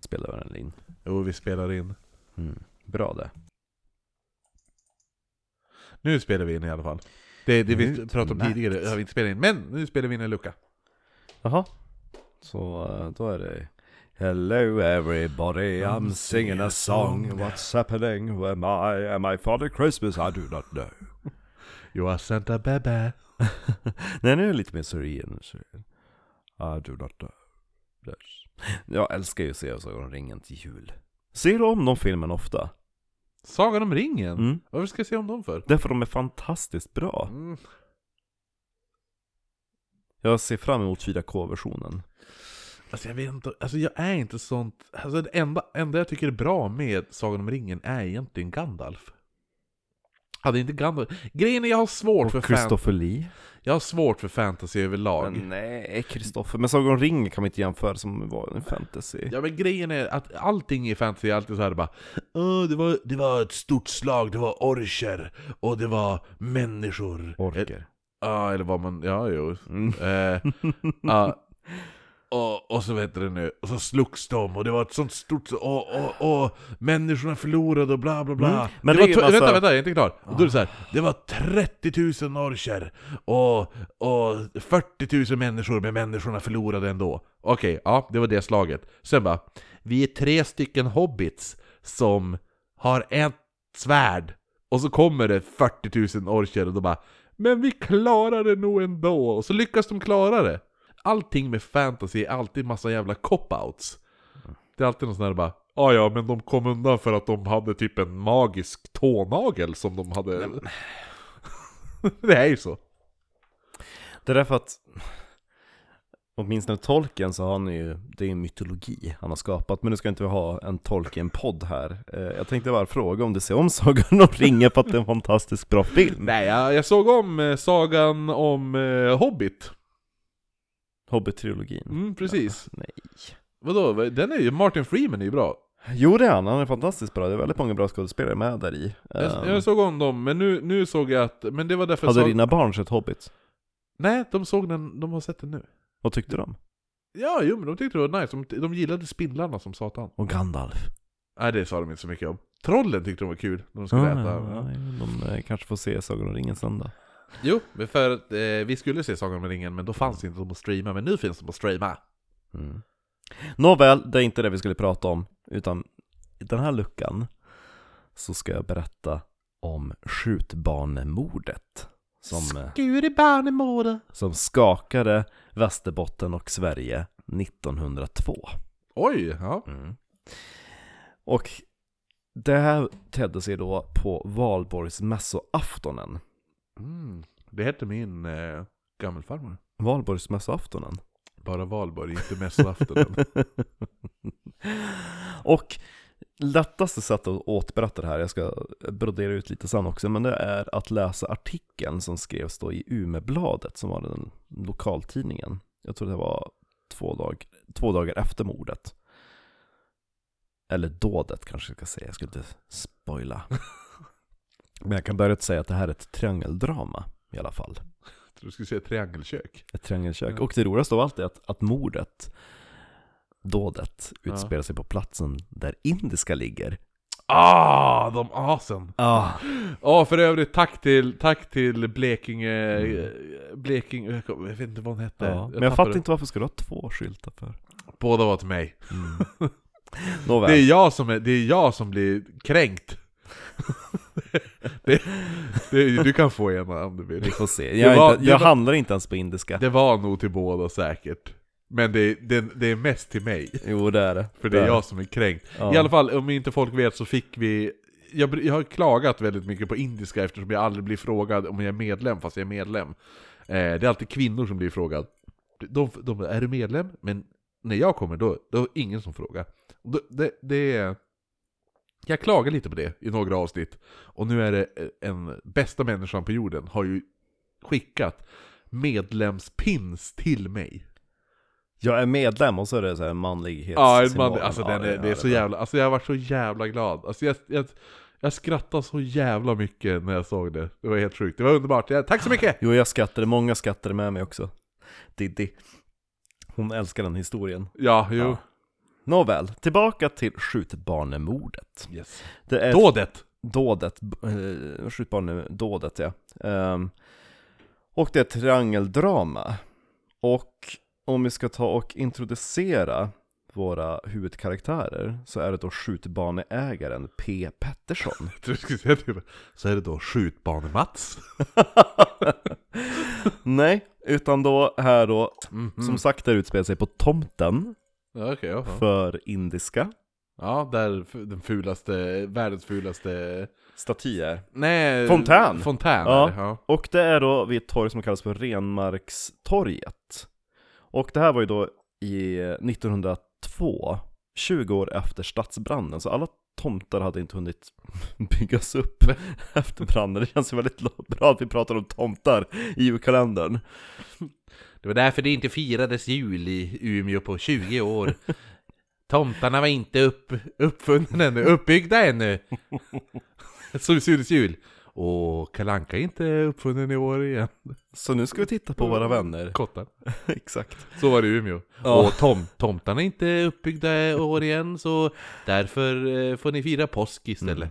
spelar väl in? Jo, vi spelar in. Mm. Bra det. Nu spelar vi in i alla fall. Det, det vi Utmärkt. pratade om tidigare har vi inte spelat in, men nu spelar vi in en lucka. Jaha. Så eh, då är det Hello everybody, I'm singing a song. What's happening? Who am I? Am I Father Christmas? I do not know. You are Santa Bebe. Nej, nu är det lite mer syrien. syrien. I do not know. Yes. Jag älskar ju Sagan om ringen till jul. Ser du om de filmen ofta? Sagan om ringen? Mm. Varför ska jag se om dem för? Därför de är fantastiskt bra. Mm. Jag ser fram emot 4K-versionen. Alltså jag vet inte, alltså jag är inte sånt... Alltså det enda, enda jag tycker är bra med Sagan om ringen är egentligen Gandalf. Hade inte Gandalf... Grejen är jag har svårt för Och fan... Christopher Lee. Jag har svårt för fantasy överlag. Men nej, Kristoffer. Men Sagan om ringen kan man inte jämföra som var en fantasy. Ja men grejen är att allting i fantasy är alltid så här bara "Åh, det, var, det var ett stort slag, det var orcher och det var människor. Eh, Orker. Ja, eller vad man... Ja, jo. Mm. Eh, ja. och, och så vet du det nu, och så slogs de och det var ett sånt stort... Och, och, och människorna förlorade och bla bla bla. Mm. Men det var är ju to- massa- Vänta, vänta, jag är inte klar. Och då är det så här, det var 30 000 orcher och, och 40 000 människor, men människorna förlorade ändå. Okej, ja, det var det slaget. Sen bara, vi är tre stycken hobbits som har ett svärd. Och så kommer det 40 000 orcher och de bara Men vi klarar det nog ändå! Och så lyckas de klara det! Allting med fantasy är alltid massa jävla cop-outs. Det är alltid någon sån här bara Ja, ja, men de kom undan för att de hade typ en magisk tånagel som de hade... det är ju Mm. så. Det är därför att Åtminstone tolken så har han ju, det är en mytologi han har skapat, men nu ska inte vi ha en Tolkien-podd här. Eh, Jag tänkte bara fråga om du ser om Sagan om ringen för att det är en fantastiskt bra film? Nej, jag, jag såg om eh, sagan om eh, Hobbit. Hobbit-trilogin. Mm, precis. Nej. Vadå? Den är ju... Martin Freeman är ju bra. Jo det är han, han är fantastiskt bra, det är väldigt många bra skådespelare med där i. Jag, Ehm, jag såg om dem, men nu, nu såg jag att... Men det var därför Hade jag såg... dina barn sett Hobbit? Nej, de såg den, de har sett den nu. Vad tyckte de? Ja, jo men de tyckte det var nice. De, de gillade spindlarna som satan. Och Gandalf. Nej, det sa de inte så mycket om. Trollen tyckte de var kul när de skulle Ja, ja, äta. ja, de eh, kanske får se Sagan om ringen sen då. Jo, men för att eh, vi skulle se Sagan om ringen, men då fanns inte de att streama. Men nu finns de att streama. Mm. Nåväl, det är inte det vi skulle prata om, utan i den här luckan så ska jag berätta om skjutbanemordet som, eh, Gud i barnemode. som skakade Västerbotten och Sverige 1902. Oj, ja. Och det här tedde sig då på valborgsmässoaftonen. Mm. Det hette min eh, gammelfarmor. Valborgsmässoaftonen? Bara valborg, inte mässoafton. Och lättaste sättet att återberätta det här, jag ska brodera ut lite sen också, men det är att läsa artikeln som skrevs då i Umebladet, som var den lokaltidningen. Jag tror det var två, dag, två dagar efter mordet. Eller dådet kanske jag ska säga, jag skulle inte spoila. Men jag kan börja med att säga att det här är ett triangeldrama i alla fall Jag tror du skulle säga triangelkök. ett triangelkök. Ja. Och det roligaste av allt är att, att mordet, dådet, Ja. utspelar sig på platsen där indiska ligger. Ah, de asen! Ah, Ja, för övrigt tack till, tack till Blekinge... eh, Blekinge... Jag kom- jag vet inte vad hon hette. ja. Eh, Men jag fattar tappade- inte varför ska du ha två skyltar för? Båda var till mig. Nåväl. Det är jag som, är, det är jag som blir kränkt. det, det, du kan få ena om du vill. Vi får se. Det Jag, var- är inte, det jag var- handlar inte ens på indiska. Det var nog till båda säkert. Men det, det, det är mest till mig. Jo, det är det. För det är Där. jag som är kränkt. Ja. I alla fall, om inte folk vet så fick vi... Jag, br- jag har klagat väldigt mycket på indiska eftersom jag aldrig blir frågad om jag är medlem fast jag är medlem. Eh, det är alltid kvinnor som blir frågad. De, de är du medlem? Men när jag kommer då, då är det ingen som frågar. Det, det, det är... Jag klagar lite på det i några avsnitt. Och nu är det eh, en bästa människan på jorden har ju skickat medlemspins till mig. Jag är medlem och så är det så här manlighet. Ja, en man, alltså den är, ja, det är så bra. jävla, alltså jag har varit så jävla glad. Alltså jag, jag, jag skrattade så jävla mycket när jag såg det. Det var helt sjukt. Det var underbart. Jag, tack så mycket! Jo, jag skattade. Många skattade med mig också. Diddy. Hon älskar den historien. Ja, jo. Ja. Nåväl, tillbaka till skjutbarnemordet. Yes. Det är Dådet! dådet, b- eh, skjutbanedådet ja. Ehm, och det är ett triangeldrama. Och om vi ska ta och introducera våra huvudkaraktärer så är det då skjutbaneägaren P. Pettersson. Jag tror du skulle säga typ, så är det då skjutbane-Mats. Nej, utan då här då, Mm. som sagt det utspelar sig på tomten Ja, Okej, ja. för indiska ja, där f- den fulaste, världens fulaste... statyer. Nej! Fontän. Fontän! Ja. är det, ja. Och det är då vid ett torg som kallas för Renmarkstorget. Och det här var ju då i 1902, 20 år efter stadsbranden, så alla tomtar hade inte hunnit byggas upp efter branden. Det känns ju väldigt lo- bra att vi pratar om tomtar i julkalendern. Det var därför det inte firades jul i Umeå på 20 år. Tomtarna var inte upp, uppfunna ännu, uppbyggda ännu. Som synes jul. Och Kalanka är inte uppfunnen i år igen. Så nu ska vi titta på våra vänner. Kottar. Exakt. Så var det i Umeå. Ja. Och tom, tomtarna är inte uppbyggda i år igen, så därför eh, får ni fira påsk istället.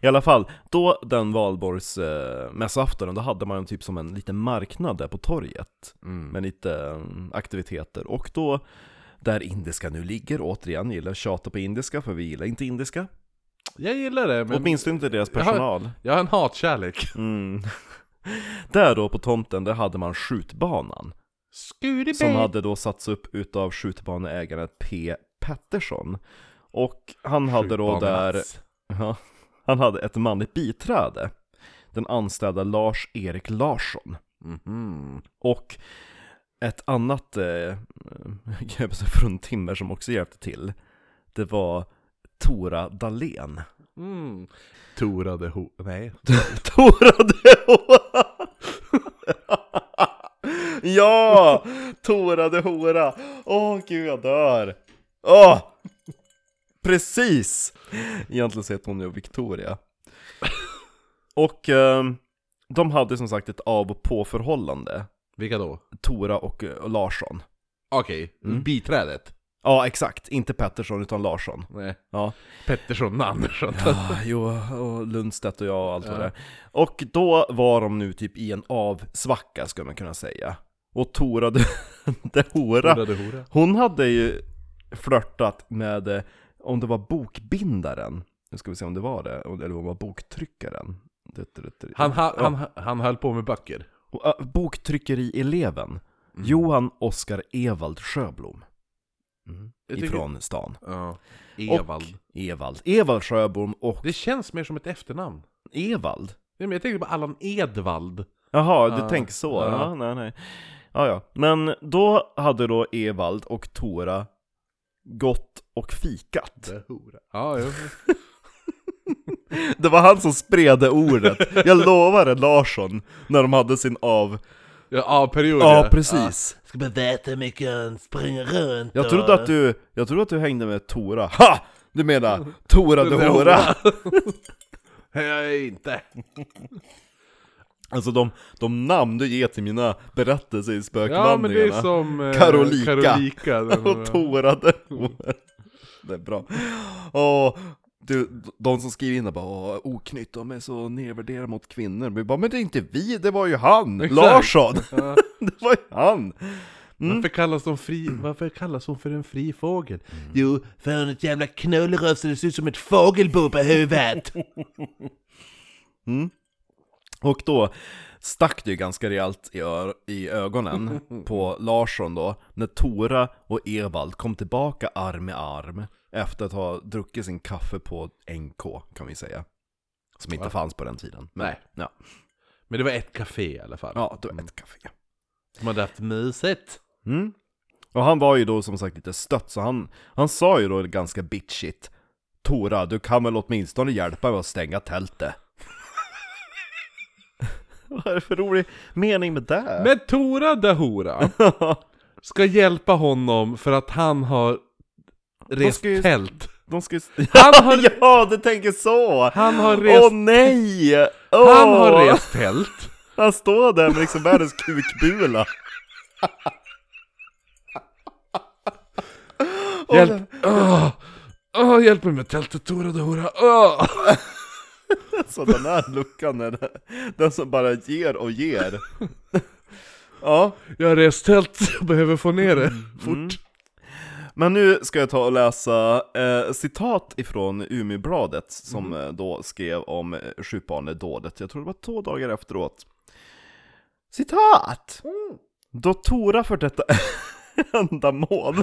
I alla fall, då den valborgsmässoaftonen, då hade man ju typ som en liten marknad där på torget. Mm. med lite mm, aktiviteter. Och då, där indiska nu ligger, återigen, jag gillar att tjata på indiska för vi gillar inte indiska. Jag gillar det, men Åtminstone inte deras personal. jag har en hatkärlek. Mm. Där då på tomten, där hade man skjutbanan. Som Skudibej! hade då satts upp utav skjutbaneägaren P. Pettersson. Och han hade då där, ja, han hade ett manligt biträde. Den anställda Lars-Erik Larsson. Mhm. Och ett annat eh, eh, fruntimmer som också hjälpte till, det var Tora Dahlén. Mm. Torade ho... Nej. Tora Dehora! ja! Tora Dehora! Åh gud, jag dör! Åh! Precis! Egentligen så heter hon ju Victoria. Och ehm, de hade som sagt ett av och på-förhållande, Vilka då? Mm. Tora och eh, Larsson. Okej, biträdet. Ja, exakt. Inte Pettersson utan Larsson. Nej. Ja. Pettersson Andersson. jo, och Lundstedt och jag och allt vad Ja. det är. Och då var de nu typ i en avsvacka, skulle man kunna säga. Och Tora de, de Hora, Torade hora. hon hade ju flörtat med, eh, om det var bokbindaren. Nu ska vi se om det var det, eller om det var boktryckaren. Det- det- det- Han, ha, Ja. han, han höll på med böcker. Och, äh, Boktryckerieleven. Mm. Johan Oskar Evald Sjöblom. Mm. Jag tycker- Ifrån stan. Ja. Evald. Och Evald. Evald Sjöblom och Det känns mer som ett efternamn. Evald? Nej, men jag tänkte på Allan Edvald. Jaha, du Ja. tänker så? Ja. Ja. nej, nej. Ja, ja. Men då hade då Evald och Tora gått och fikat. Ja, jo. Det var han som spred det ordet. Jag lovade Larsson när de hade sin av... Ja, A-period. Ja, precis. Ska man veta hur mycket han springer runt Jag trodde att du, jag trodde att du hängde med Tora. Ha! Du menar Tora de Hora? Jag är inte. Alltså de, de namn du ger till mina berättelser i Ja, men det spökvandringarna. är som... Eh, Karolika. Karolika. den- och tårade Det är bra. Och du, de som skriver in där bara "Åh, oknytt, de är så nedvärderade mot kvinnor. Vi bara, men det är inte vi, det var ju han! Exakt. Larsson! Ja. det var ju han! Varför, Mm. kallas de fri, varför kallas hon för en fri fågel? Jo, för hon är ett jävla knullröv så det ser ut som ett fågelbo på huvudet! Och då stack det ju ganska rejält i, ö- i ögonen på Larsson då, när Tora och Evald kom tillbaka arm i arm efter att ha druckit sin kaffe på NK, kan vi säga. Som inte Ja. fanns på den tiden. Men, Nej. Ja, Men det var ett café i alla fall. ja då ett kaffe. Som hade haft mysigt. Mm. Och han var ju då som sagt lite stött, så han, han sa ju då ganska bitchigt Tora, du kan väl åtminstone hjälpa mig att stänga tältet? Vad är det för rolig mening med det? Men Tora Dahora ska hjälpa honom för att han har rest ska ju- tält. De ska ju... Han har, ja, du tänker så! han har rest... Åh nej! Åh! Han har rest tält. Han står där med liksom världens kukbula. Hjälp! Åh! Åh, hjälp mig med tältet, Tora och Hora! Åh! Så den här luckan är det- den som bara ger och ger. Ja, Jag har rest tält, jag behöver få ner det fort. men nu ska jag ta och läsa eh, citat ifrån Umibladet som eh, då skrev om eh, Sjuparnedådet. Jag tror det var två dagar efteråt. Citat! Då Tora för detta ändamål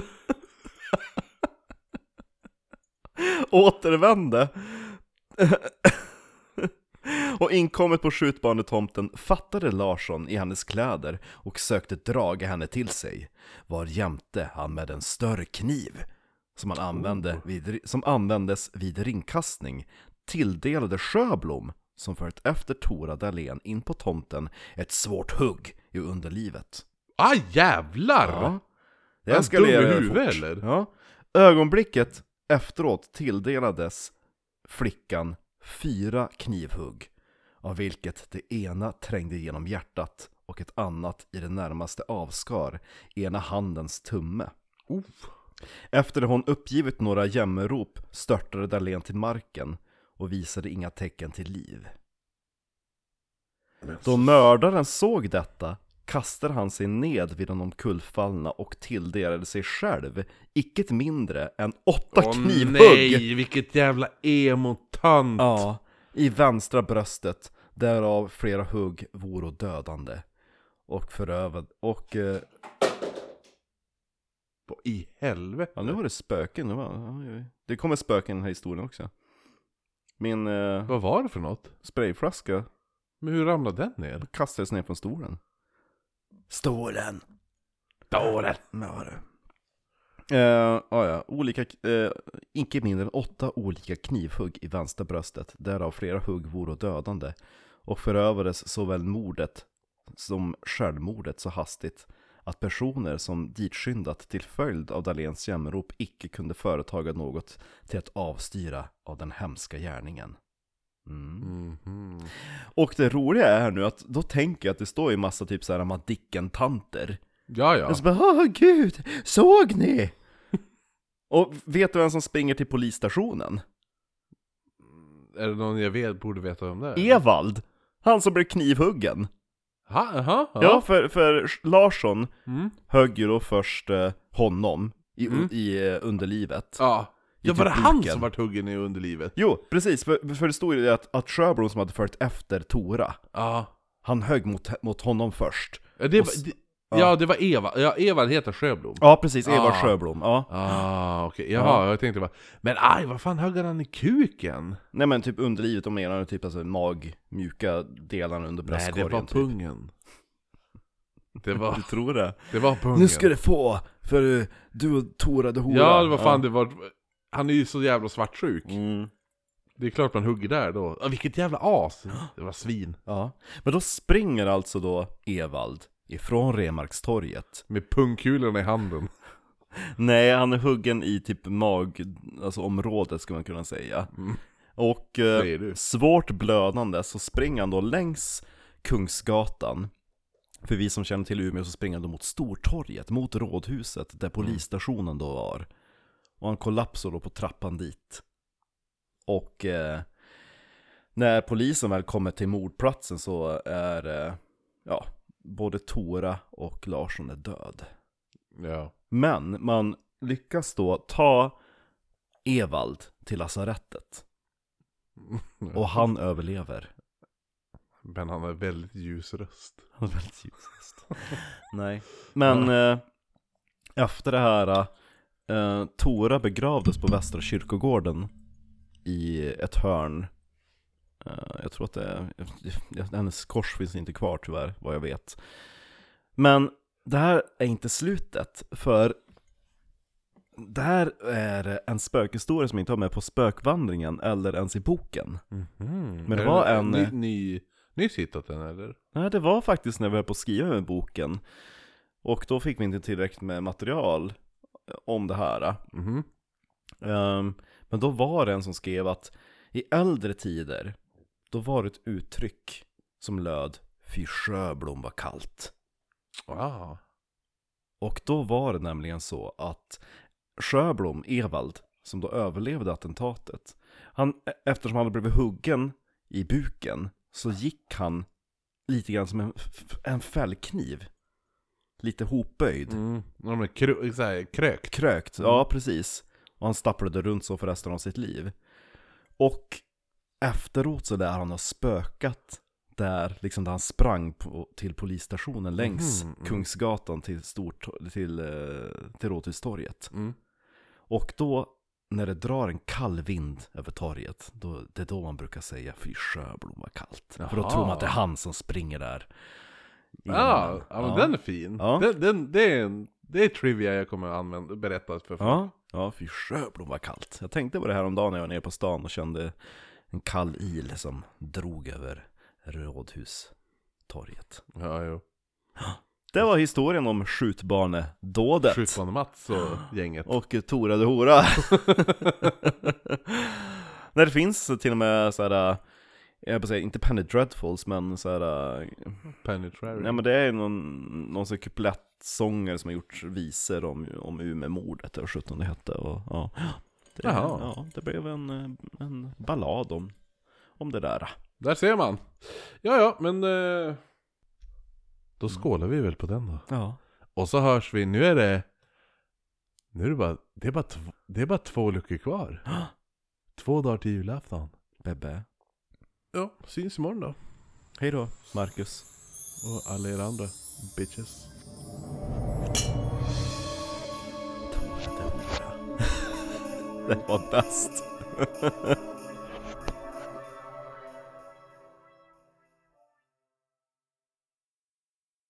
återvände och inkommit på skjutbanetomten fattade Larsson i hennes kläder och sökte draga henne till sig. Var jämte han med en större kniv som, han Oh. använde vid, som användes vid ringkastning tilldelade Sjöblom, som följt efter Tora Dahlén in på tomten, ett svårt hugg i underlivet. Ah jävlar! Ja. Är Det han dum i eskalerade huvudet, fort. eller? Ja. Ögonblicket efteråt tilldelades flickan fyra knivhugg, av vilket det ena trängde genom hjärtat och ett annat i det närmaste avskar ena handens tumme. Oh. Efter hon uppgivit några jämmerop störtade Dahlén till marken och visade inga tecken till liv. Då mördaren såg detta kastade han sig ned vid de omkullfallna och tilldelade sig själv icke mindre än åtta Åh knivhugg nej, vilket jävla emotant! ja, i vänstra bröstet, därav flera hugg voro dödande. Och förövad, och eh, Vad I helvete! ja, nu var det spöken, nu var, oj, oj. det kommer spöken i den här historien också. Min eh, Vad var det för något? sprayflaska Men hur ramlade den ner? kastades ner från stolen. Stolen! Dåret! Ja du. Eh, ah, ja. olika, eh, inte mindre än åtta olika knivhugg i vänstra bröstet, därav flera hugg vore dödande, och förövades såväl mordet som självmordet så hastigt att personer som ditskyndat till följd av Dahléns jämrop icke kunde företaga något till att avstyra av den hemska gärningen. Mm. Mhm. Och det roliga är nu att då tänker jag att det står ju massa typ såhär Madicken-tanter Ja, och ja. så bara, åh gud, såg ni? Och vet du vem som springer till polisstationen? Är det någon jag vet, borde veta vem det är? Evald! Han som blev knivhuggen. Ha, aha, Ja, för, för Larsson Mm. högg ju då först eh, honom i, Mm. i eh, underlivet. ja. typ Ja, I var det han publiken. som vart huggen i underlivet? Jo, precis, för, för det stod ju det att, att Sjöbron som hade följt efter Tora, Ja. han högg mot, mot honom först. Ja, det Och var, s- det, ja. ja, det var Eva. Ja, Eva heter Sjöblom. Ja, precis, Eva Ah. Sjöblom. Ja. Ah, okej. Jaha, jag tänkte bara... Men aj, vad fan högg han i kuken? Nej men typ underlivet, de menar typ alltså mag, mjuka delarna under Nej, bröstkorgen. det var typ. pungen. Det var, Du tror det? det var pungen. Nu ska du få, för eh, du och Tora du hora. Ja, det var fan det var... Han är ju så jävla svartsjuk. Mm. Det är klart man hugger där då. Ah, vilket jävla as! Det var svin. Ja. Men då springer alltså då Evald ifrån Remarkstorget. Med pungkulorna i handen. Nej, han är huggen i typ mag, alltså området skulle man kunna säga. Mm. Och eh, Säger du. svårt blödande så springer han då längs Kungsgatan. För vi som känner till Umeå så springer han då mot Stortorget, mot Rådhuset, där polisstationen då var. Och han kollapsar då på trappan dit. Och eh, när polisen väl kommer till mordplatsen så är, eh, ja, både Tora och Larsson är död. Ja. Men man lyckas då ta Evald till lasarettet. Mm. Och han överlever. Men han har väldigt ljus röst. Han är väldigt ljusast. Nej. Men eh, efter det här, eh, Tora begravdes på Västra kyrkogården i ett hörn. Eh, jag tror att det är, hennes kors finns inte kvar tyvärr, vad jag vet. Men det här är inte slutet, för det här är en spökhistoria som inte har med på spökvandringen eller ens i boken. Men det Mhm. Är var en- eh, Ny, ny, nyss hittat den eller? Nej, det var faktiskt när vi höll på att skriva med boken. Och då fick vi inte tillräckligt med material eh, om det här. Mhm. Ehm, men då var det en som skrev att i äldre tider, då var det ett uttryck som löd Fy Sjöblom var kallt. Ah. Och då var det nämligen så att Sjöblom, Evald, som då överlevde attentatet. Han, e- eftersom han hade blivit huggen i buken så gick han lite grann som en, f- f- en fällkniv. Lite hopböjd. Mm. Ja, men kru- så här, krökt. Krökt, Mm. ja precis. Och han stapplade runt så för resten av sitt liv. Och efteråt så lär han ha spökat där, liksom där han sprang på, till polisstationen längs Mhm, mm. Kungsgatan till, stort, till, eh, till Rådhustorget. Mm. Och då, när det drar en kall vind över torget, då, det är då man brukar säga fy Sjöblom vad kallt. För då Jaha. tror man att det är han som springer där. Ja, ja, men den är fin. Mm. Ja. Den, den, det, är en, det är trivia jag kommer att använda, berätta för folk. Ja, ja fy sjöblom vad kallt. Jag tänkte på det här om dagen när jag var nere på stan och kände en kall il som drog över Rådhustorget. Ja, jo. Det var historien om skjutbanedådet Skjutbane Mats och gänget. och Tora de Hora. När det finns till och med så här, eh, jag höll på att säga, inte Penny Dreadfuls, men så här, eh, Penetrary. nej men det är någon, någon sån kuplettsångare som har gjort visor om, om Umeåmordet, eller 17 det hette, och ja. Det, Jaha. ja, det blev en, eh, en ballad om, om det där. Där ser man. Ja, ja, men... Eh, då skålar vi väl på den då. Ja. Och så hörs vi. Nu är det... Nu är det bara... Det är bara, tv- det är bara två luckor kvar. Två dagar till julafton. Bebbe. Ja, syns imorgon då. Hej då, Marcus. Och alla er andra bitches. Det var bäst.